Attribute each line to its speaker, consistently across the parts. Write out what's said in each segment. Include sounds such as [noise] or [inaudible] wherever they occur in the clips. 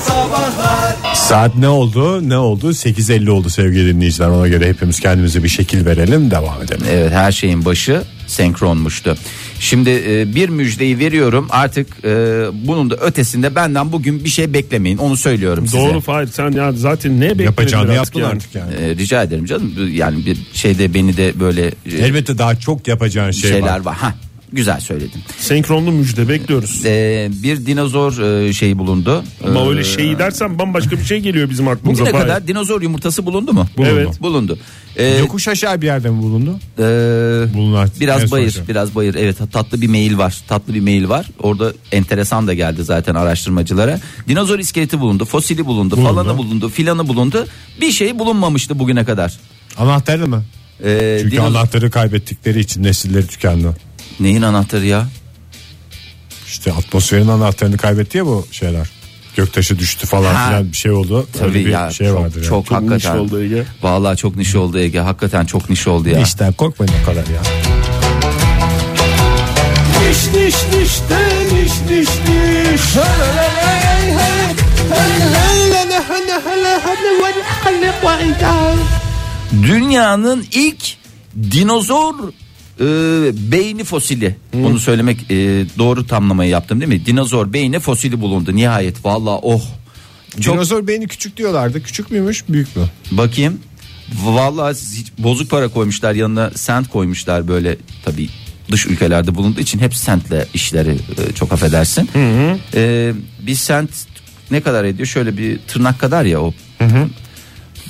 Speaker 1: sabahlar
Speaker 2: Saat ne oldu? Ne oldu? 8.50 oldu sevgili dinleyiciler. Ona göre hepimiz kendimize bir şekil verelim devam edelim.
Speaker 3: Evet her şeyin başı senkronmuştu. Şimdi e, bir müjdeyi veriyorum artık e, bunun da ötesinde benden bugün bir şey beklemeyin onu söylüyorum size.
Speaker 4: Doğru Fahir sen ya zaten ne bekledin
Speaker 2: Yapacağını
Speaker 4: biraz
Speaker 2: yaptın
Speaker 4: yani?
Speaker 2: artık yani.
Speaker 3: E, rica ederim canım yani bir şeyde beni de böyle e,
Speaker 4: Şey
Speaker 2: Elbette daha çok yapacağın şey
Speaker 3: şeyler
Speaker 2: var.
Speaker 3: var. Ha, güzel söyledin.
Speaker 4: Senkronlu müjde bekliyoruz.
Speaker 3: E, bir dinozor e, şeyi bulundu.
Speaker 4: Ama
Speaker 3: E,
Speaker 4: öyle şeyi dersen bambaşka bir şey geliyor bizim aklımıza.
Speaker 3: Bugüne
Speaker 4: Fahir.
Speaker 3: kadar dinozor yumurtası bulundu mu?
Speaker 4: Bulundu. Evet.
Speaker 3: Bulundu. E,
Speaker 2: Yokuş aşağı bir yerde mi bulundu?
Speaker 3: Ee,
Speaker 2: Bunlar en
Speaker 3: biraz
Speaker 2: son
Speaker 3: bayır,
Speaker 2: şey.
Speaker 3: biraz bayır. Evet, tatlı bir mail var. Tatlı bir mail var. Orada enteresan da geldi zaten araştırmacılara. Dinozor iskeleti bulundu, fosili bulundu, falanı bulundu, filanı bulundu. Bir şey bulunmamıştı bugüne kadar.
Speaker 2: Anahtarı mı?
Speaker 3: Ee,
Speaker 2: Çünkü
Speaker 3: dinoz-
Speaker 2: anahtarı kaybettikleri için nesilleri tükendi.
Speaker 3: Neyin anahtarı ya?
Speaker 2: İşte atmosferin anahtarını kaybetti ya bu şeyler. Göktaşı düştü falan
Speaker 3: Ha.
Speaker 2: filan bir şey oldu. Öyle
Speaker 3: Tabii
Speaker 2: bir
Speaker 3: ya.
Speaker 2: şey
Speaker 3: çok
Speaker 2: vardır yani.
Speaker 3: çok,
Speaker 4: Çok niş
Speaker 3: hakikaten.
Speaker 4: oldu Ege.
Speaker 3: Vallahi çok niş oldu Ege. Hakikaten çok niş oldu ya.
Speaker 2: İşten korkmayın o kadar ya.
Speaker 1: Niş niş niş de niş niş niş
Speaker 3: Dünyanın ilk dinozor e, beyni fosili. Bunu söylemek e, doğru tamlamayı yaptım değil mi? Dinozor beyni fosili bulundu nihayet. Vallahi oh. Çok
Speaker 2: Dinozor beyni küçük diyorlardı. Küçük müymüş büyük mü?
Speaker 3: bakayım. Vallahi hiç bozuk para koymuşlar yanına sent koymuşlar böyle tabii dış ülkelerde bulunduğu için hep sentle işleri e, çok affedersin. E, bir sent ne kadar ediyor? Şöyle bir tırnak kadar ya o.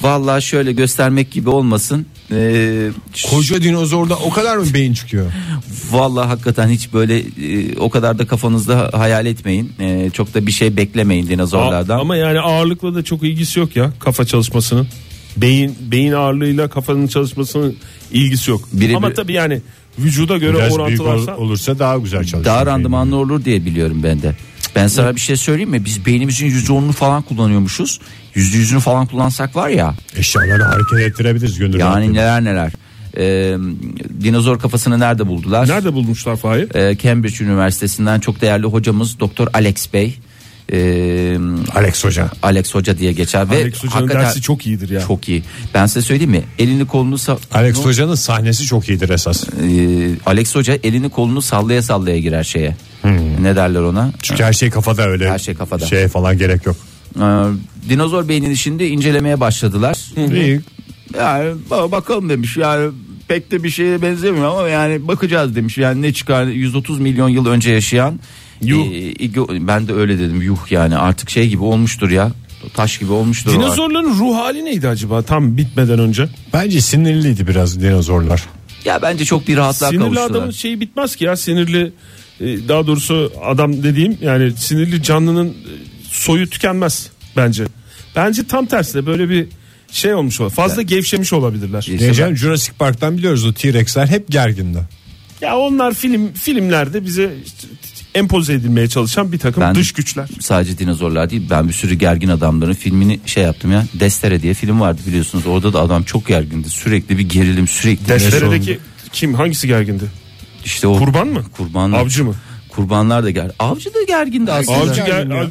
Speaker 3: Vallahi şöyle göstermek gibi olmasın. E,
Speaker 2: Koca dinozorda o kadar mı beyin çıkıyor?
Speaker 3: Vallahi hakikaten hiç böyle e, o kadar da kafanızda hayal etmeyin. E, çok da bir şey beklemeyin dinozorlardan.
Speaker 4: A- Ama yani ağırlıkla da çok ilgisi yok ya kafa çalışmasının. Beyin beyin ağırlığıyla kafanın çalışmasının ilgisi yok.
Speaker 3: Biri-
Speaker 4: Ama tabii yani vücuda göre
Speaker 2: Biraz büyük ol-
Speaker 4: orantılarsa
Speaker 2: olursa daha güzel çalışır.
Speaker 3: Daha randımanlı olur diye biliyorum ben de. Ben sana bir şey söyleyeyim mi? Biz beynimizin %10'unu falan kullanıyormuşuz. %100'ünü falan kullansak var ya.
Speaker 2: Eşyaları hareket ettirebiliriz gönül
Speaker 3: Yani
Speaker 2: rahatlığıyla.
Speaker 3: neler neler. E, dinozor kafasını nerede buldular?
Speaker 4: nerede bulmuşlar Fahir?
Speaker 3: E, Cambridge Üniversitesi'nden çok değerli hocamız Doktor Alex Bey. E,
Speaker 2: Alex Hoca.
Speaker 3: Alex Hoca diye geçer ve
Speaker 4: Alex Hoca'nın
Speaker 3: hakikaten
Speaker 4: dersi çok iyidir ya.
Speaker 3: çok iyi. Ben size söyleyeyim mi? Elini kolunu sa-
Speaker 2: Alex Hoca'nın sahnesi çok iyidir esas.
Speaker 3: Ee, Alex Hoca elini kolunu sallaya sallaya girer şeye.
Speaker 4: Hmm.
Speaker 3: Ne derler ona?
Speaker 2: Çünkü her şey kafada öyle.
Speaker 3: Her şey kafada.
Speaker 2: Şeye falan gerek yok.
Speaker 3: Ee, dinozor beynini şimdi incelemeye başladılar.
Speaker 4: Hmm.
Speaker 2: İyi.
Speaker 3: Yani ba- bakalım demiş yani pek de bir şeye benzemiyor ama yani bakacağız demiş. Yani ne çıkar 130 milyon yıl önce yaşayan.
Speaker 4: Yuh.
Speaker 3: e, ig- ben de öyle dedim yuh yani artık şey gibi olmuştur ya. Taş gibi olmuştur. o artık.
Speaker 4: Dinozorların ruh hali neydi acaba tam bitmeden önce?
Speaker 2: Bence sinirliydi biraz dinozorlar.
Speaker 3: Ya bence çok bir rahatlığa
Speaker 4: Sinirli
Speaker 3: kavuştular.
Speaker 4: adamın şeyi bitmez ki ya sinirli e, daha doğrusu adam dediğim yani sinirli canlının e, soyu tükenmez bence. Bence tam tersine böyle bir şey olmuş olabilir. Fazla gevşemiş olabilirler.
Speaker 3: İşte
Speaker 2: Diyeceğim Jurassic Park'tan biliyoruz o T-Rex'ler hep gergindi.
Speaker 4: Ya onlar film filmlerde bize işte empoze edilmeye çalışan bir takım
Speaker 3: Ben-
Speaker 4: dış güçler.
Speaker 3: sadece dinozorlar değil ben bir sürü gergin adamların filmini şey yaptım ya Destere diye film vardı biliyorsunuz orada da adam çok gergindi sürekli bir gerilim sürekli bir şey oldu.
Speaker 4: Desteredeki kim hangisi gergindi?
Speaker 3: işte o
Speaker 4: Kurban mı?
Speaker 3: kurban
Speaker 4: Avcı mı?
Speaker 3: kurbanlar da ger avcı da gergindi aslında
Speaker 4: Avcı ger
Speaker 2: gergin ya.
Speaker 4: av-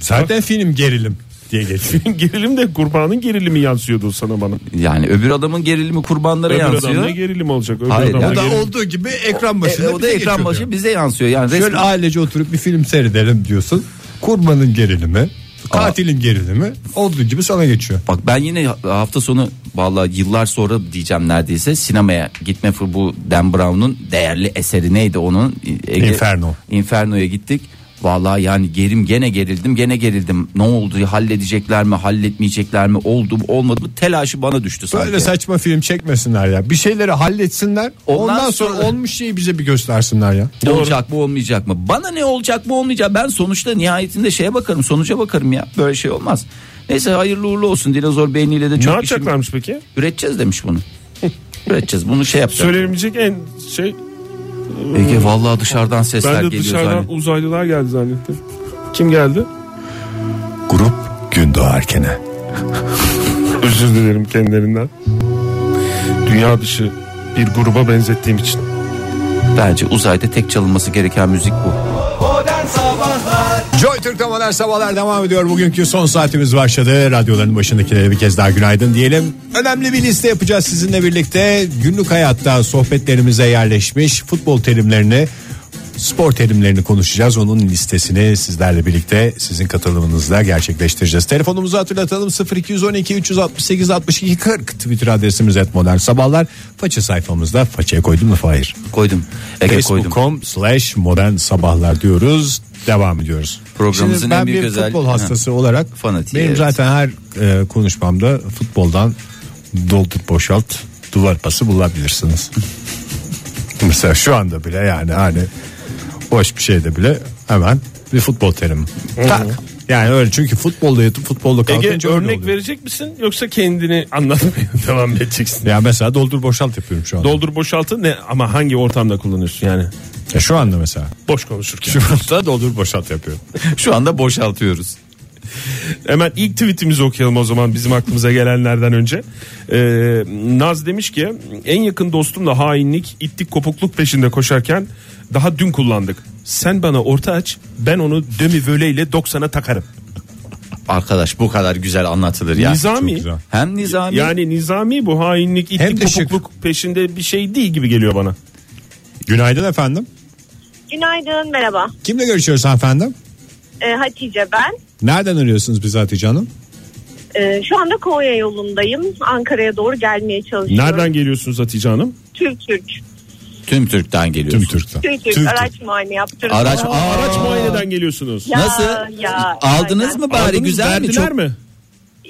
Speaker 2: Zaten film gerilim
Speaker 3: [laughs]
Speaker 2: diye geçiyor.
Speaker 4: [laughs] gerilim de kurbanın gerilimi yansıyordu sana bana.
Speaker 3: yani öbür adamın gerilimi kurbanlara
Speaker 4: Öbür
Speaker 3: yansıyor
Speaker 4: adamda gerilim olacak. Öbür
Speaker 3: Hayır,
Speaker 4: adamda
Speaker 3: o
Speaker 2: o da
Speaker 4: gerilim-
Speaker 2: olduğu gibi ekran başında
Speaker 3: e, o da ekran başı bize yansıyor yani
Speaker 2: Şöyle
Speaker 3: resmen-
Speaker 2: ailece oturup bir film seyredelim diyorsun. Kurbanın gerilimi, katilin gerilimi olduğu gibi sana geçiyor.
Speaker 3: Bak ben yine ha- hafta sonu vallahi yıllar sonra diyeceğim neredeyse sinemaya gitme fır bu Dan Brown'un değerli eseri neydi onun? E, Ege-
Speaker 2: Inferno.
Speaker 3: Inferno'ya gittik. Vallahi yani gerim gene gerildim gene gerildim. Ne oldu halledecekler mi halletmeyecekler mi oldu mu olmadı mı telaşı bana düştü sanki.
Speaker 2: Böyle saçma film çekmesinler ya. Bir şeyleri halletsinler.
Speaker 3: Ondan
Speaker 2: Ondan, sonra,
Speaker 3: sonra-
Speaker 2: olmuş şeyi bize bir göstersinler ya.
Speaker 3: Olacak mı olmayacak mı? Bana ne olacak mı olmayacak ben sonuçta nihayetinde şeye bakarım sonuca bakarım ya böyle şey olmaz. Neyse hayırlı uğurlu olsun dinozor beyniyle de
Speaker 4: Ne
Speaker 3: çok işim-
Speaker 4: yapacaklarmış peki?
Speaker 3: üreteceğiz demiş bunu. üreteceğiz bunu şey yapacağız.
Speaker 4: Söylenebilecek en şey
Speaker 3: Ege vallahi dışarıdan sesler
Speaker 4: Hmm. ben de
Speaker 3: geliyor
Speaker 4: dışarıdan
Speaker 3: zannettim.
Speaker 4: uzaylılar geldi zannettim. Kim geldi?
Speaker 2: Grup gün doğarkene.
Speaker 4: [laughs] Özür dilerim kendilerinden. Dünya dışı bir gruba benzettiğim için.
Speaker 3: Bence uzayda tek çalınması gereken müzik bu.
Speaker 1: Modern Sabahlar
Speaker 2: Joy Türk'te modern sabahlar devam ediyor. Bugünkü son saatimiz başladı. Radyoların başındakilere bir kez daha günaydın diyelim. Önemli bir liste yapacağız sizinle birlikte. Günlük hayatta sohbetlerimize yerleşmiş futbol terimlerini, spor terimlerini konuşacağız. Onun listesini sizlerle birlikte sizin katılımınızla gerçekleştireceğiz. Telefonumuzu hatırlatalım 0212 368 62 40 Twitter adresimiz et modern sabahlar. Faça sayfamızda façaya koydum mu Fahir?
Speaker 3: Koydum. Ege koydum.
Speaker 2: Facebook.com slash modern sabahlar diyoruz. Devam ediyoruz.
Speaker 3: Programımızın
Speaker 2: Şimdi ben
Speaker 3: en büyük
Speaker 2: bir
Speaker 3: özelliği-
Speaker 2: futbol hastası
Speaker 3: Ha.
Speaker 2: olarak
Speaker 3: Fanatiği,
Speaker 2: benim
Speaker 3: evet.
Speaker 2: zaten her e, konuşmamda futboldan doldur boşalt duvar pası bulabilirsiniz. [laughs] Mesela şu anda bile yani hani boş bir şeyde bile hemen bir futbol terimi. tak. Yani öyle çünkü futbolda yatıp futbolda
Speaker 4: Ege
Speaker 2: kalkınca öyle
Speaker 4: örnek
Speaker 2: oluyor.
Speaker 4: verecek misin yoksa kendini anlatmaya [laughs] devam mı edeceksin?
Speaker 2: Ya mesela doldur boşalt yapıyorum şu anda.
Speaker 4: Doldur boşaltı ne ama hangi ortamda kullanıyorsun yani?
Speaker 2: Ya E, şu anda mesela.
Speaker 4: Boş konuşurken.
Speaker 2: Şu anda doldur boşalt yapıyorum.
Speaker 3: Şu anda boşaltıyoruz.
Speaker 4: Hemen ilk tweetimizi okuyalım o zaman bizim aklımıza gelenlerden önce. Ee, Naz demiş ki en yakın dostumla hainlik, itlik, kopukluk peşinde koşarken daha dün kullandık. Sen bana orta aç ben onu dömi völeyle 90'a takarım.
Speaker 3: Arkadaş bu kadar güzel anlatılır ya.
Speaker 4: Nizami.
Speaker 2: çok güzel.
Speaker 3: Hem Nizami
Speaker 4: Yani nizami bu hainlik,
Speaker 2: Hem de
Speaker 4: itlik,
Speaker 2: şık.
Speaker 4: kopukluk peşinde bir şey değil gibi geliyor bana.
Speaker 2: Günaydın efendim.
Speaker 5: Günaydın merhaba.
Speaker 2: Kimle görüşüyoruz efendim?
Speaker 5: Ee, Hatice ben.
Speaker 2: Nereden arıyorsunuz bizi Hatice Hanım?
Speaker 5: Ee, şu anda Konya yolundayım. Ankara'ya doğru gelmeye çalışıyorum.
Speaker 4: Nereden geliyorsunuz Hatice Hanım?
Speaker 5: Türk Türk.
Speaker 3: tüm Türk'ten geliyoruz.
Speaker 2: Tüm Türk'ten.
Speaker 5: Türk Türk.
Speaker 2: Türk.
Speaker 5: Araç muayene yaptırdım.
Speaker 3: Araç Aa,
Speaker 4: Araç muayeneden geliyorsunuz.
Speaker 5: Ya,
Speaker 3: Nasıl?
Speaker 5: ya,
Speaker 3: Aldınız
Speaker 5: aynen.
Speaker 3: mı bari
Speaker 4: Aldınız,
Speaker 3: güzel mi?
Speaker 4: verdiler
Speaker 3: Çok-
Speaker 4: mi?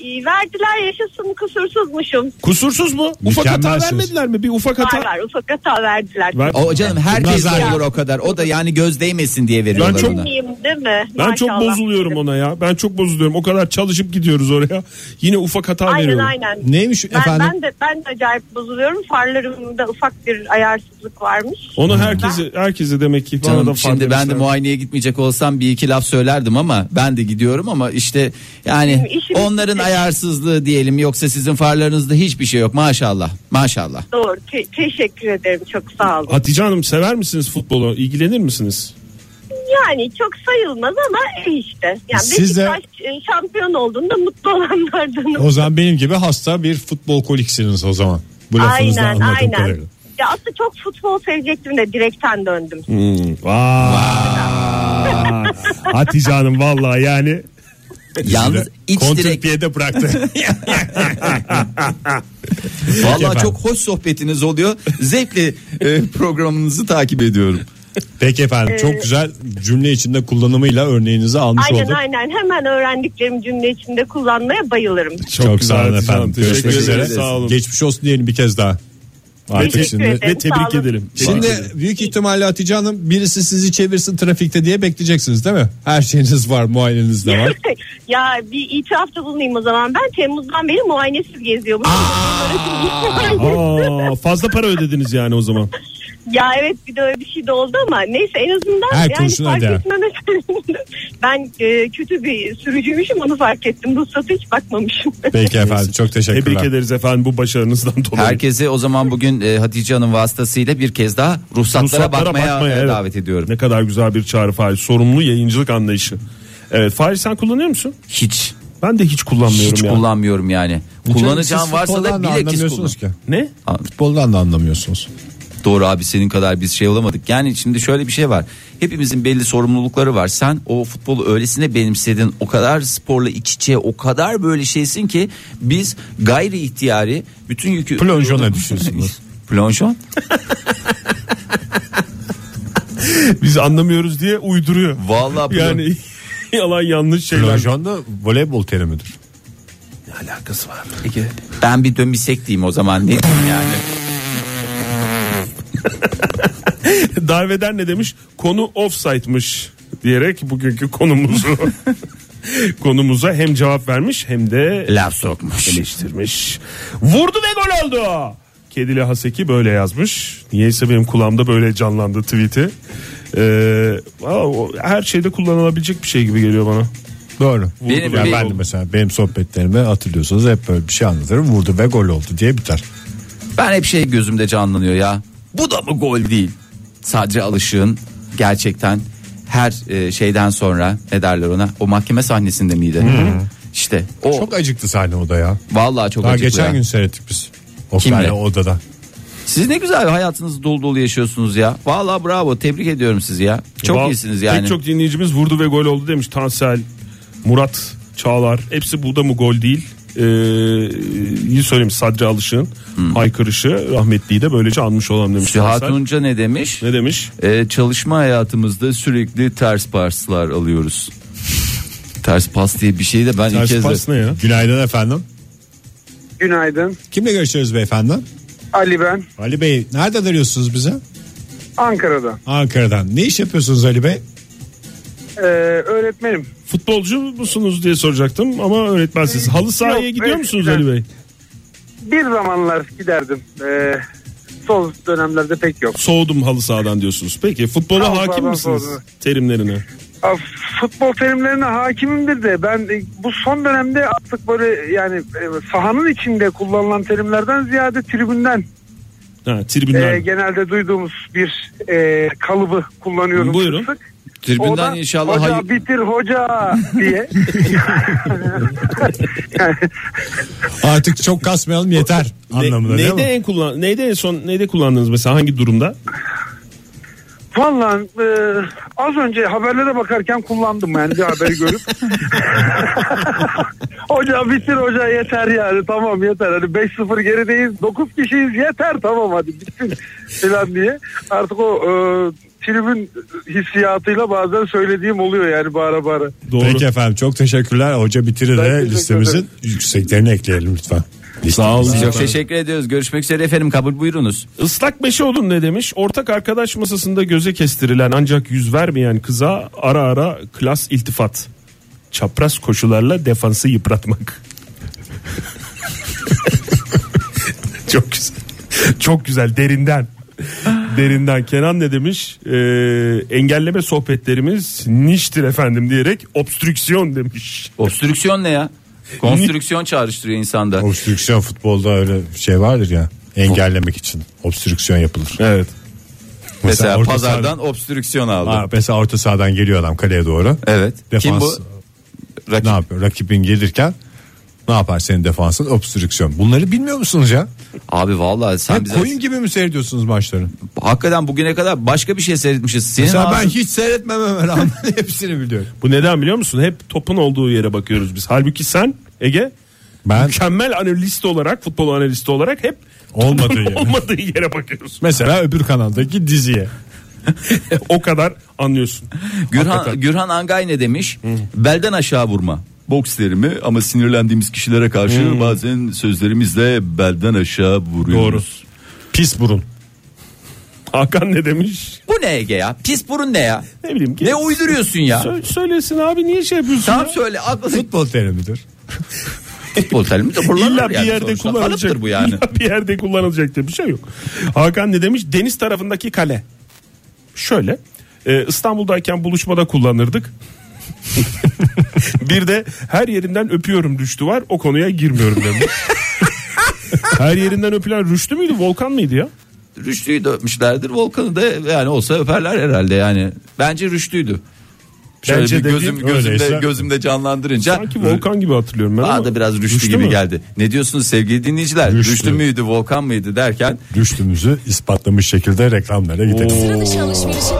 Speaker 5: İyi, verdiler yaşasın kusursuzmuşum.
Speaker 4: Kusursuz mu? Ufak hata
Speaker 2: Mükemmelsiniz.
Speaker 4: vermediler mi? Bir ufak
Speaker 5: Var
Speaker 4: hata.
Speaker 5: var ufak hata verdiler.
Speaker 4: Ver-
Speaker 3: O canım herkes
Speaker 2: Nazar.
Speaker 3: olur o kadar. O da yani göz değmesin diye veriyorlar
Speaker 4: Ben çok-
Speaker 3: ona.
Speaker 5: İyiyim değil mi?
Speaker 4: Ben çok
Speaker 5: Maşallah.
Speaker 4: bozuluyorum ona ya. Ben çok bozuluyorum. O kadar çalışıp gidiyoruz oraya. [laughs] Yine ufak hata
Speaker 5: Aynen
Speaker 4: veriyorum.
Speaker 5: aynen.
Speaker 2: Neymiş
Speaker 5: Ben,
Speaker 2: efendim?
Speaker 5: ben de ben de acayip bozuluyorum. Farlarımda ufak bir ayarsızlık varmış.
Speaker 4: Onu herkese herkese demek ki bana da
Speaker 3: Hmm. Canım
Speaker 4: fark
Speaker 3: şimdi ben de
Speaker 4: etmişler.
Speaker 3: muayeneye gitmeyecek olsam bir iki laf söylerdim ama ben de gidiyorum ama işte yani
Speaker 5: İşimiz-
Speaker 3: onların ayarsızlığı diyelim yoksa sizin farlarınızda hiçbir şey yok maşallah maşallah.
Speaker 5: Doğru. Te- teşekkür ederim. Çok sağ olun.
Speaker 4: Hatice Hanım sever misiniz futbolu? İlgilenir misiniz?
Speaker 5: Yani çok sayılmaz ama iyi işte. Yani
Speaker 2: Siz de-
Speaker 5: Beşiktaş e, şampiyon olduğunda mutlu olanlardanım.
Speaker 2: O zaman benim gibi hasta bir futbol koliksiniz o zaman. Bu lafınızdan
Speaker 5: Aynen
Speaker 2: anladığım
Speaker 5: aynen.
Speaker 2: kadarıyla.
Speaker 5: Ya aslında çok futbol sevecektim de direkten döndüm.
Speaker 3: Hmm.
Speaker 4: Hatice Hanım vallahi yani.
Speaker 3: Yalnız iç direkt [laughs]
Speaker 2: Kontrpiyede bıraktı.
Speaker 3: valla
Speaker 4: şey
Speaker 2: efendim.
Speaker 3: çok hoş sohbetiniz oluyor zevkle e, programınızı takip ediyorum.
Speaker 2: Peki efendim çok güzel cümle içinde kullanımıyla örneğinizi almış
Speaker 5: Ee, aynen
Speaker 2: olduk.
Speaker 5: aynen. Hemen öğrendiklerimi cümle içinde kullanmaya bayılırım.
Speaker 2: Çok, sağ olun
Speaker 4: Hatice Hanım.
Speaker 2: efendim.
Speaker 4: Teşekkür
Speaker 2: Görüşmek
Speaker 4: ederiz.
Speaker 2: üzere.
Speaker 4: Sağ olun.
Speaker 2: Geçmiş olsun diyelim bir kez daha. Artık
Speaker 5: Teşekkür
Speaker 2: şimdi.
Speaker 5: ederim.
Speaker 4: Ve tebrik
Speaker 5: Sağ olun.
Speaker 4: edelim.
Speaker 2: Şimdi büyük ihtimalle Hatice Hanım birisi sizi çevirsin trafikte diye bekleyeceksiniz değil mi? Her şeyiniz var, muayeneniz de var.
Speaker 5: [laughs] ya bir itirafta bulunayım o zaman. Ben Temmuz'dan beri muayenesiz geziyormuşum.
Speaker 4: Aa, fazla para ödediniz yani o zaman.
Speaker 5: [laughs] Ya evet bir de öyle bir şey de oldu ama neyse en azından
Speaker 2: Her
Speaker 5: yani
Speaker 2: kurşuna
Speaker 5: fark
Speaker 2: değer.
Speaker 5: etmeme sevindim. [laughs] Ben e, kötü bir sürücüymüşüm onu fark ettim. Ruhsata hiç bakmamışım. [laughs]
Speaker 2: Peki efendim çok
Speaker 4: Tebrik
Speaker 2: teşekkürler.
Speaker 4: ederiz efendim bu başarınızdan dolayı.
Speaker 3: Herkese o zaman bugün e, Hatice Hanım vasıtasıyla bir kez daha ruhsatlara, bakmaya, e,
Speaker 4: evet.
Speaker 3: davet ediyorum.
Speaker 4: Ne kadar güzel bir çağrı Fahir. Sorumlu yayıncılık anlayışı. Evet Fahir sen kullanıyor musun?
Speaker 3: Hiç
Speaker 4: Ben de hiç kullanmıyorum
Speaker 3: hiç
Speaker 4: ya.
Speaker 3: kullanmıyorum yani. Kullanacağım
Speaker 2: Siz
Speaker 3: varsa da
Speaker 2: futboldan
Speaker 3: bilakis kullan.
Speaker 2: anlamıyorsunuz ki.
Speaker 3: [laughs]
Speaker 4: ne?
Speaker 2: Futboldan da anlamıyorsunuz.
Speaker 3: Doğru abi senin kadar biz şey olamadık. Yani şimdi şöyle bir şey var. Hepimizin belli sorumlulukları var. Sen o futbolu öylesine benimsedin. O kadar sporla iç içe o kadar böyle şeysin ki biz gayri ihtiyari bütün yükü...
Speaker 2: Plonjona düşüyorsunuz.
Speaker 3: [laughs] Plonjon?
Speaker 4: Biz anlamıyoruz diye uyduruyor.
Speaker 3: Vallahi plon-
Speaker 4: Yani [laughs] yalan yanlış şeyler.
Speaker 2: Plonjon da voleybol terimidir.
Speaker 4: Ne alakası var?
Speaker 3: Ben bir dömisek diyeyim o zaman. Ne diyeyim yani?
Speaker 4: [laughs] Darveder ne demiş? Konu offside'mış diyerek bugünkü konumuzu [laughs] konumuza hem cevap vermiş hem de
Speaker 3: Laf sokmuş.
Speaker 4: eleştirmiş. Vurdu ve gol oldu. Kedili Haseki böyle yazmış. Niyeyse benim kulağımda böyle canlandı tweet'i. Ee, valla o her şeyde kullanılabilecek bir şey gibi geliyor bana.
Speaker 2: Doğru.
Speaker 3: Benim-
Speaker 2: Ya
Speaker 3: benim-
Speaker 2: ben de mesela benim sohbetlerime hatırlıyorsunuz hep böyle bir şey anlatırım. Vurdu ve gol oldu diye biter.
Speaker 3: Ben hep şey gözümde canlanıyor ya. Bu da mı gol değil? Sadece alışığın gerçekten her e, şeyden sonra ne derler ona o mahkeme sahnesinde miydi? İşte o
Speaker 2: Çok acıktı sahne o da ya.
Speaker 3: vallahi çok
Speaker 2: Daha
Speaker 3: acıklı
Speaker 2: geçen
Speaker 3: ya.
Speaker 2: gün seyrettik biz. O
Speaker 3: Kimle?
Speaker 2: sahne odada.
Speaker 3: Siz ne güzel hayatınızı dolu dolu yaşıyorsunuz ya. Vallahi bravo tebrik ediyorum sizi ya. Çok
Speaker 4: Val-
Speaker 3: iyisiniz yani.
Speaker 4: E, Pek çok dinleyicimiz vurdu ve gol oldu demiş. Tansel, Murat, Çağlar. Hepsi bu da mı gol değil? Ee, iyi söyleyeyim Sadri Alışık'ın
Speaker 3: Hmm.
Speaker 4: haykırışı rahmetliyi de böylece anmış olalım demiş.
Speaker 3: Sühat
Speaker 4: Tansel.
Speaker 3: Unca ne demiş?
Speaker 4: Ne demiş?
Speaker 3: Ee, çalışma hayatımızda sürekli ters paslar alıyoruz. [laughs] ters pas diye bir şey de ben ilk
Speaker 4: Ters
Speaker 3: kez de-
Speaker 4: pas ne ya?
Speaker 2: Günaydın efendim.
Speaker 6: Günaydın.
Speaker 2: Kimle görüşüyoruz beyefendi?
Speaker 6: Ali ben.
Speaker 2: Ali Bey nereden arıyorsunuz bize?
Speaker 6: Ankara'da.
Speaker 2: Ankara'dan. Ne iş yapıyorsunuz Ali Bey?
Speaker 6: Ee, öğretmenim.
Speaker 4: Futbolcu musunuz diye soracaktım ama öğretmensiniz. Halı sahaya
Speaker 6: Yok,
Speaker 4: gidiyor
Speaker 6: evet,
Speaker 4: musunuz
Speaker 6: güzel.
Speaker 4: Ali Bey?
Speaker 6: Bir zamanlar giderdim. Ee, son dönemlerde pek yok.
Speaker 4: Soğudum halı sahadan diyorsunuz. Peki futbola
Speaker 6: Halı
Speaker 4: hakim
Speaker 6: sahadan
Speaker 4: misiniz
Speaker 6: soğudum.
Speaker 4: terimlerine?
Speaker 6: Af, Futbol terimlerine hakimimdir de ben e, bu son dönemde artık böyle yani e, sahanın içinde kullanılan terimlerden ziyade tribünden
Speaker 4: Ha,
Speaker 6: e,
Speaker 4: tribünden.
Speaker 6: genelde duyduğumuz bir e, kalıbı kullanıyorum.
Speaker 4: Buyurun.
Speaker 6: sık sık.
Speaker 3: Tribünden
Speaker 6: Oradan,
Speaker 3: inşallah
Speaker 6: hoca
Speaker 3: hayır-
Speaker 6: bitir hoca
Speaker 3: [laughs]
Speaker 6: diye.
Speaker 2: Artık çok kasmayalım yeter
Speaker 4: Ne-
Speaker 2: anlamında değil
Speaker 4: neyde
Speaker 2: mi?
Speaker 4: en kullan neyde en son neyde kullandınız mesela hangi durumda?
Speaker 6: Vallahi e, az önce haberlere bakarken kullandım yani bir haberi görüp. hoca bitir hoca yeter yani tamam yeter hani 5-0 gerideyiz 9 kişiyiz yeter tamam hadi bitsin falan diye. Artık o e, tribün hissiyatıyla bazen söylediğim oluyor yani bağıra bağıra.
Speaker 4: Doğru.
Speaker 2: Peki efendim çok teşekkürler. Hoca bitirir
Speaker 6: Ben
Speaker 2: de
Speaker 6: teşekkür
Speaker 2: listemizin
Speaker 6: ederim.
Speaker 2: yükseklerini ekleyelim lütfen. Sağ
Speaker 3: Biz Çok teşekkür ediyoruz. Görüşmek üzere efendim. Kabul buyurunuz.
Speaker 4: Islak meşe olun ne demiş? Ortak arkadaş masasında göze kestirilen ancak yüz vermeyen kıza ara ara klas iltifat. Çapraz koşularla defansı yıpratmak. [laughs] Çok güzel. Çok güzel derinden. Derinden Kenan ne demiş? Ee, engelleme sohbetlerimiz niştir efendim diyerek obstrüksiyon demiş.
Speaker 3: Obstrüksiyon ne ya? Konstrüksiyon çağrıştırıyor insanda.
Speaker 2: Obstrüksiyon futbolda öyle bir şey vardır ya. Engellemek için obstrüksiyon yapılır.
Speaker 4: Evet.
Speaker 3: Mesela
Speaker 2: orta
Speaker 3: pazardan obstrüksiyon aldım.
Speaker 2: saha- Ha, mesela orta sahadan geliyor adam kaleye doğru.
Speaker 3: Evet.
Speaker 2: Defans
Speaker 3: Kim bu? Rakip.
Speaker 2: ne yapıyor? Rakibin gelirken ne yapar senin defansın? Obstrüksiyon. Bunları bilmiyor musunuz ya?
Speaker 3: Abi vallahi sen
Speaker 2: Hep
Speaker 3: bize
Speaker 2: koyun gibi mi seyrediyorsunuz maçları?
Speaker 3: hakikaten bugüne kadar başka bir şey seyretmişiz. Senin
Speaker 2: Mesela ben
Speaker 3: ağzın-
Speaker 2: hiç seyretmememe rağmen [laughs] hepsini biliyorum.
Speaker 4: Bu neden biliyor musun? Hep topun olduğu yere bakıyoruz biz. Halbuki sen Ege
Speaker 2: Ben
Speaker 4: mükemmel analist olarak futbol analisti olarak hep
Speaker 2: [laughs] olmadığı yere.
Speaker 4: olmadığı yere bakıyorsun.
Speaker 2: Mesela öbür kanaldaki diziye.
Speaker 4: [laughs] o kadar anlıyorsun.
Speaker 3: Gürhan,
Speaker 4: Hakikaten.
Speaker 3: Gürhan Angay ne demiş? Belden aşağı vurma. Boks terimi ama sinirlendiğimiz kişilere karşı bazen sözlerimizle belden aşağı vuruyoruz.
Speaker 2: Pis burun.
Speaker 4: Hakan ne demiş?
Speaker 3: Bu ne Ege ya? Pis burun ne ya?
Speaker 4: Ne bileyim ki.
Speaker 3: Ne uyduruyorsun ya?
Speaker 4: Sö- söylesin abi niye şey yapıyorsun?
Speaker 3: Tamam
Speaker 4: ya?
Speaker 3: söyle. Aklına
Speaker 2: Futbol terimidir.
Speaker 3: futbol terimi de kullanılır
Speaker 4: İlla bir
Speaker 3: yani
Speaker 4: yerde
Speaker 3: sonuçta.
Speaker 4: kullanılacak.
Speaker 3: Kalıptır bu yani.
Speaker 4: İlla bir yerde kullanılacak diye bir şey yok. Hakan ne demiş? Deniz tarafındaki kale. Şöyle. e, İstanbul'dayken buluşmada kullanırdık. [laughs] bir de her yerinden öpüyorum rüştü var. O konuya girmiyorum demiş.
Speaker 3: [laughs]
Speaker 4: her yerinden öpülen rüştü müydü? Volkan mıydı ya?
Speaker 3: Rüştü'yü de öpmüşlerdir. Volkan'ı da yani olsa öperler herhalde yani. Bence Rüştü'ydü. Şöyle
Speaker 4: Bence
Speaker 3: bir
Speaker 4: de
Speaker 3: gözüm,
Speaker 4: değil,
Speaker 3: gözümde,
Speaker 2: öyleyse.
Speaker 3: gözümde canlandırınca.
Speaker 4: Sanki Volkan gibi hatırlıyorum ben.
Speaker 3: Bana
Speaker 4: ama-
Speaker 3: da biraz Rüştü, gibi
Speaker 4: mü?
Speaker 3: geldi. Ne diyorsunuz sevgili dinleyiciler?
Speaker 2: Rüştü.
Speaker 3: Rüştü, müydü, Volkan mıydı derken
Speaker 2: Rüştümüzü ispatlamış şekilde reklamlara gidelim.
Speaker 7: Sıra dışı alışverişin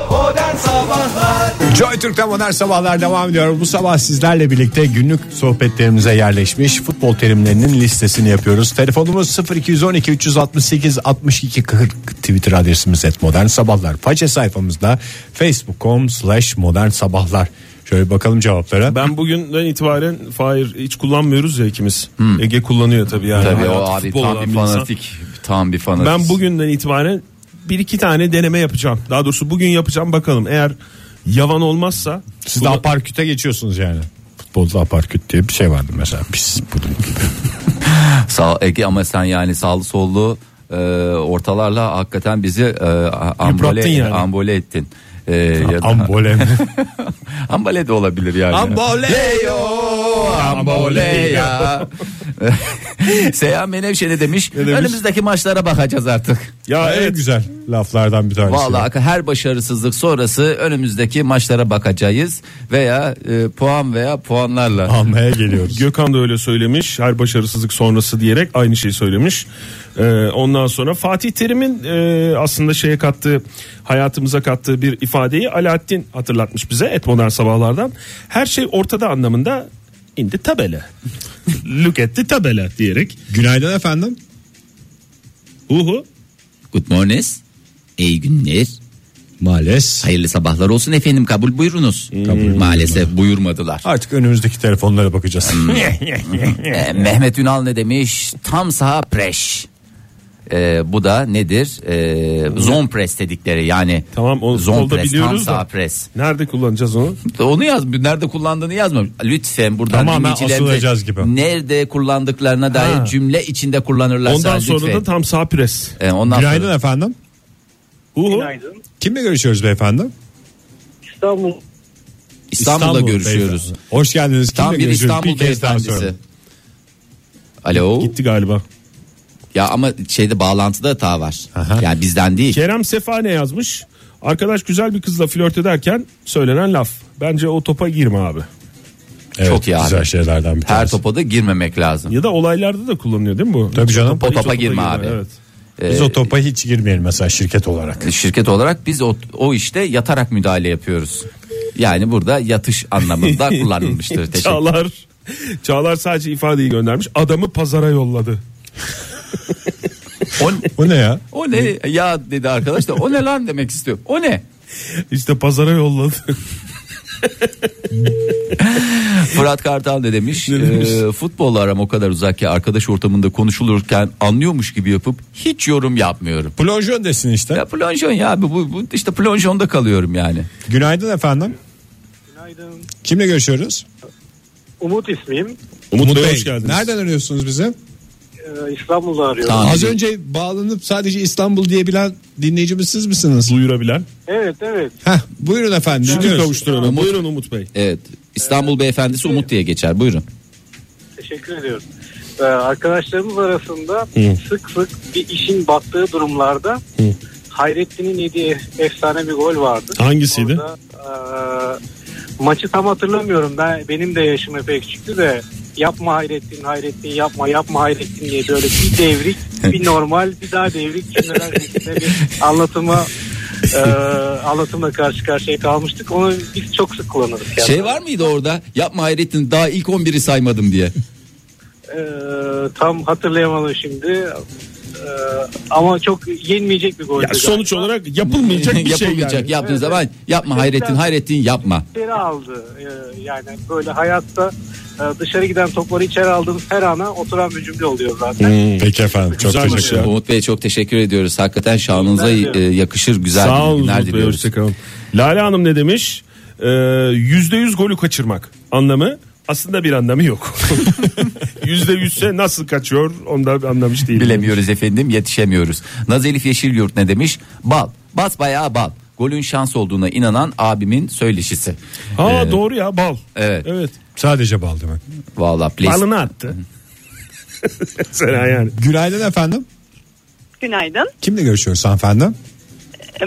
Speaker 2: Joy Türk'te modern sabahlar devam ediyor. Bu sabah sizlerle birlikte günlük sohbetlerimize yerleşmiş futbol terimlerinin listesini yapıyoruz. Telefonumuz 0212 368 62 40 Twitter adresimiz et modern sabahlar. Faça sayfamızda facebook.com slash modern sabahlar. Şöyle bakalım cevaplara.
Speaker 4: Ben bugünden itibaren Fahir hiç kullanmıyoruz ya ikimiz. Ege kullanıyor tabii yani.
Speaker 3: Hmm. tabii o
Speaker 4: Hayatı
Speaker 3: abi
Speaker 4: futbol
Speaker 3: tam
Speaker 4: olan
Speaker 3: bir
Speaker 4: insan.
Speaker 3: fanatik. Tam bir fanatik.
Speaker 4: Ben bugünden itibaren bir iki tane deneme yapacağım. Daha doğrusu bugün yapacağım bakalım. Eğer yavan olmazsa
Speaker 2: Siz de aparküte geçiyorsunuz yani. Futbolda aparküt diye bir şey vardı mesela. Biz bunun gibi.
Speaker 3: Sağ Ege ama sen yani sağlı sollu e, ortalarla hakikaten bizi e, a- ambole,
Speaker 4: Yıprattın yani.
Speaker 3: ambole ettin. E, ya da-
Speaker 2: Ambole mi?
Speaker 3: ambale de olabilir yani.
Speaker 4: Ambole yo.
Speaker 3: Amboleya. [laughs] Seyhan Menevşe ne demiş?
Speaker 2: demiş?
Speaker 3: Önümüzdeki maçlara bakacağız artık.
Speaker 4: Ya
Speaker 2: En
Speaker 4: evet.
Speaker 2: güzel laflardan bir tanesi.
Speaker 3: Vallahi her başarısızlık sonrası önümüzdeki maçlara bakacağız veya e, puan veya puanlarla.
Speaker 2: Almaya geliyoruz.
Speaker 4: Gökhan da öyle söylemiş. Her başarısızlık sonrası diyerek aynı şeyi söylemiş. Ee, ondan sonra Fatih Terim'in e, aslında şeye kattığı, hayatımıza kattığı bir ifadeyi Alaaddin hatırlatmış bize et modern sabahlardan. Her şey ortada anlamında indi tabela. [laughs] Look at the tabela diyerek.
Speaker 2: Günaydın efendim.
Speaker 4: Uhu.
Speaker 3: Good morning. İyi günler.
Speaker 2: Maalesef.
Speaker 3: Hayırlı sabahlar olsun efendim kabul buyurunuz. Maalesef buyurmadılar.
Speaker 2: Artık önümüzdeki telefonlara bakacağız. [laughs]
Speaker 3: Ee, Mehmet Ünal ne demiş? Tam saha preş. Ee, bu da nedir? Ee, zone press dedikleri yani.
Speaker 4: Tamam, o-
Speaker 3: zone
Speaker 4: solda
Speaker 3: press, tam
Speaker 4: biliyoruz da.
Speaker 3: saha press.
Speaker 4: Nerede kullanacağız onu?
Speaker 3: Onu yaz. Nerede kullandığını yazma. Lütfen buradan
Speaker 2: Tamamen
Speaker 3: dinleyicilerimize
Speaker 2: asılacağız gibi.
Speaker 3: Nerede kullandıklarına dair cümle içinde kullanırlarsa
Speaker 4: Ondan sonra
Speaker 3: lütfen.
Speaker 4: da tam sağ pres.
Speaker 3: Ee, ondan sonra-
Speaker 2: Günaydın efendim.
Speaker 4: Uhu.
Speaker 7: Günaydın.
Speaker 2: Kimle görüşüyoruz beyefendi?
Speaker 7: İstanbul
Speaker 3: İstanbul'da
Speaker 2: İstanbul
Speaker 3: görüşüyoruz.
Speaker 2: beyefendi. Hoş geldiniz. Kimle
Speaker 3: Tam bir
Speaker 2: görüşüyoruz?
Speaker 3: İstanbul
Speaker 2: bir kez daha
Speaker 3: beyefendisi.
Speaker 2: söyle.
Speaker 3: Alo.
Speaker 4: Gitti galiba.
Speaker 3: Ya ama şeyde bağlantıda hata var. Yani bizden değil.
Speaker 4: Kerem Sefane yazmış. Arkadaş güzel bir kızla flört ederken söylenen laf. Bence o topa girme abi.
Speaker 2: Evet,
Speaker 3: Çok iyi abi.
Speaker 2: Güzel şeylerden bir tanesi.
Speaker 3: Her topa da girmemek lazım.
Speaker 4: Ya da olaylarda da kullanılıyor değil mi bu?
Speaker 2: Tabii canım.
Speaker 3: O
Speaker 4: Hiç
Speaker 3: topa girme abi.
Speaker 4: Evet.
Speaker 2: Biz o topa hiç girmeyelim mesela şirket olarak.
Speaker 3: Şirket olarak biz o, o işte yatarak müdahale yapıyoruz. Yani burada yatış [laughs] anlamında kullanılmıştır. Teşekkür.
Speaker 4: Çağlar Çağlar sadece ifadeyi göndermiş. Adamı pazara yolladı.
Speaker 3: O,
Speaker 2: Bu ne ya?
Speaker 3: o ne ya dedi arkadaş da o ne lan demek istiyor. O ne?
Speaker 4: İşte pazara yolladı.
Speaker 3: Fırat Kartal [laughs] ne demiş? Ee, futbolla aram o kadar uzak ki arkadaş ortamında konuşulurken anlıyormuş gibi yapıp hiç yorum yapmıyorum.
Speaker 2: Plonjon desin işte.
Speaker 3: Ya plonjon ya abi bu, bu işte plonjonda kalıyorum yani.
Speaker 2: Günaydın efendim.
Speaker 7: günaydın.
Speaker 2: Kimle görüşüyoruz?
Speaker 7: Umut ismiyim.
Speaker 4: Umut,
Speaker 2: Umut
Speaker 4: Bey
Speaker 2: Bey,
Speaker 4: hoş geldiniz.
Speaker 2: Nereden arıyorsunuz bizi?
Speaker 7: Ee, İstanbul'da arıyorum.
Speaker 3: Tamam.
Speaker 2: Az önce bağlanıp sadece İstanbul diyebilen dinleyicimiz siz misiniz?
Speaker 4: Duyurabilen.
Speaker 7: Evet evet.
Speaker 2: Heh, buyurun efendim.
Speaker 4: Şimdi
Speaker 2: dinliyoruz.
Speaker 4: kavuşturalım.
Speaker 3: Umut-
Speaker 4: Buyurun Umut Bey.
Speaker 3: Evet İstanbul beyefendisi Umut diye geçer buyurun.
Speaker 7: Teşekkür ediyorum. Ee, arkadaşlarımız arasında sık sık bir işin battığı durumlarda Hayrettin'in yediği efsane bir gol vardı.
Speaker 4: Hangisiydi?
Speaker 7: Orada, eee, maçı tam hatırlamıyorum. Ben benim de yaşım epey küçüktü de yapma Hayrettin Hayrettin yapma yapma Hayrettin diye böyle bir devrik bir normal bir daha devrik cümleler şeklinde bir anlatıma eee anlatımla karşı karşıya kalmıştık. Onu biz çok sık kullanırız. yani.
Speaker 3: Şey var mıydı orada yapma Hayrettin daha ilk 11'i saymadım diye.
Speaker 7: Ee, tam hatırlayamadım şimdi. Ee, ama çok yenmeyecek bir gol.
Speaker 4: Ya sonuç olarak yapılmayacak bir şey
Speaker 3: Yapılmayacak
Speaker 4: yani.
Speaker 3: yaptığın zaman yapma
Speaker 7: Evet.
Speaker 3: Hayrettin Hayrettin yapma.
Speaker 7: içeri aldı. Ee, yani böyle hayatta e, dışarı giden topları içeri aldığımız her ana oturan bir cümle oluyor zaten.
Speaker 4: Hmm.
Speaker 2: Peki efendim. Çok
Speaker 4: Güzelmiş
Speaker 2: teşekkür ederim.
Speaker 3: Umut Bey'e çok teşekkür ediyoruz. Hakikaten şanınıza
Speaker 7: Güzel
Speaker 3: e, yakışır güzel
Speaker 4: Sağ olun
Speaker 3: günler
Speaker 4: Umut Bey
Speaker 3: diliyoruz.
Speaker 4: hoşçakalın. Lale Hanım ne demiş? Ee, %100 golü kaçırmak anlamı aslında bir anlamı yok. [laughs] %100'se nasıl kaçıyor onu da anlamış değilim.
Speaker 3: Bilemiyoruz efendim yetişemiyoruz. Nazelif Yeşilyurt ne demiş? Bal. Bas bayağı bal. Golün şans olduğuna inanan abimin söyleşisi.
Speaker 4: Ha doğru ya bal.
Speaker 3: Evet.
Speaker 4: Evet.
Speaker 2: Sadece bal demek.
Speaker 3: Valla please.
Speaker 4: Balını attı. [laughs] Mesela yani.
Speaker 2: Günaydın efendim.
Speaker 5: Günaydın. E,
Speaker 2: Kimle görüşüyoruz hanımefendi?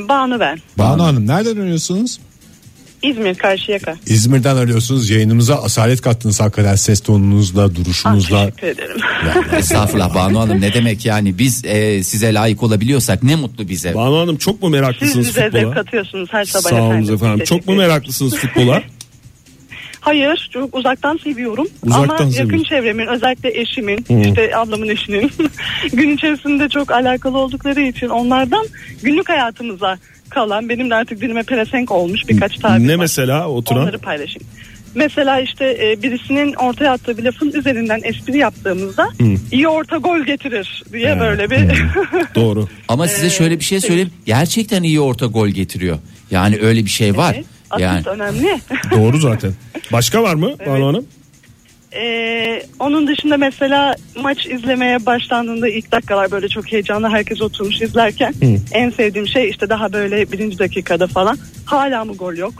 Speaker 5: Banu ben.
Speaker 2: Banu Hanım nereden arıyorsunuz?
Speaker 5: İzmir Karşıyaka.
Speaker 2: İzmir'den arıyorsunuz. Yayınımıza asalet kattınız hakikaten ses tonunuzla,
Speaker 5: Ah,
Speaker 2: duruşunuzla.
Speaker 5: teşekkür ederim.
Speaker 3: [laughs] Estağfurullah Banu Hanım ne demek yani biz e, size layık olabiliyorsak ne mutlu bize.
Speaker 4: Banu Hanım çok mu
Speaker 5: Siz
Speaker 4: meraklısınız
Speaker 5: bize zevk
Speaker 4: futbola?
Speaker 5: katıyorsunuz her sabah
Speaker 4: Sağ olun efendim.
Speaker 5: Teşekkür
Speaker 4: Çok mu
Speaker 5: ederim. [laughs]
Speaker 4: meraklısınız futbola?
Speaker 5: Hayır çok uzaktan seviyorum
Speaker 4: Uzaktan
Speaker 5: ama yakın
Speaker 4: seviyorsun.
Speaker 5: çevremin özellikle eşimin işte ablamın eşinin [laughs] gün içerisinde çok alakalı oldukları için onlardan günlük hayatımıza kalan benim de artık dilime pelesenk olmuş birkaç tabir
Speaker 4: ne
Speaker 5: var.
Speaker 4: mesela oturan?
Speaker 5: Onları paylaşayım. Mesela işte e, birisinin ortaya attığı bir lafın üzerinden espri yaptığımızda iyi orta gol getirir diye böyle bir [laughs]
Speaker 4: Doğru.
Speaker 3: Ama size şöyle bir şey söyleyeyim. Gerçekten iyi orta gol getiriyor. Yani öyle bir şey var.
Speaker 5: asist
Speaker 3: Yani
Speaker 4: [laughs]
Speaker 5: önemli.
Speaker 4: Doğru zaten. Başka var
Speaker 5: [laughs]
Speaker 4: mı Banu Hanım?
Speaker 5: Ee, onun dışında mesela maç izlemeye başlandığında ilk dakikalar böyle çok heyecanlı herkes oturmuş
Speaker 4: [laughs]
Speaker 5: izlerken en sevdiğim şey işte daha böyle birinci dakikada falan hala mı gol yok?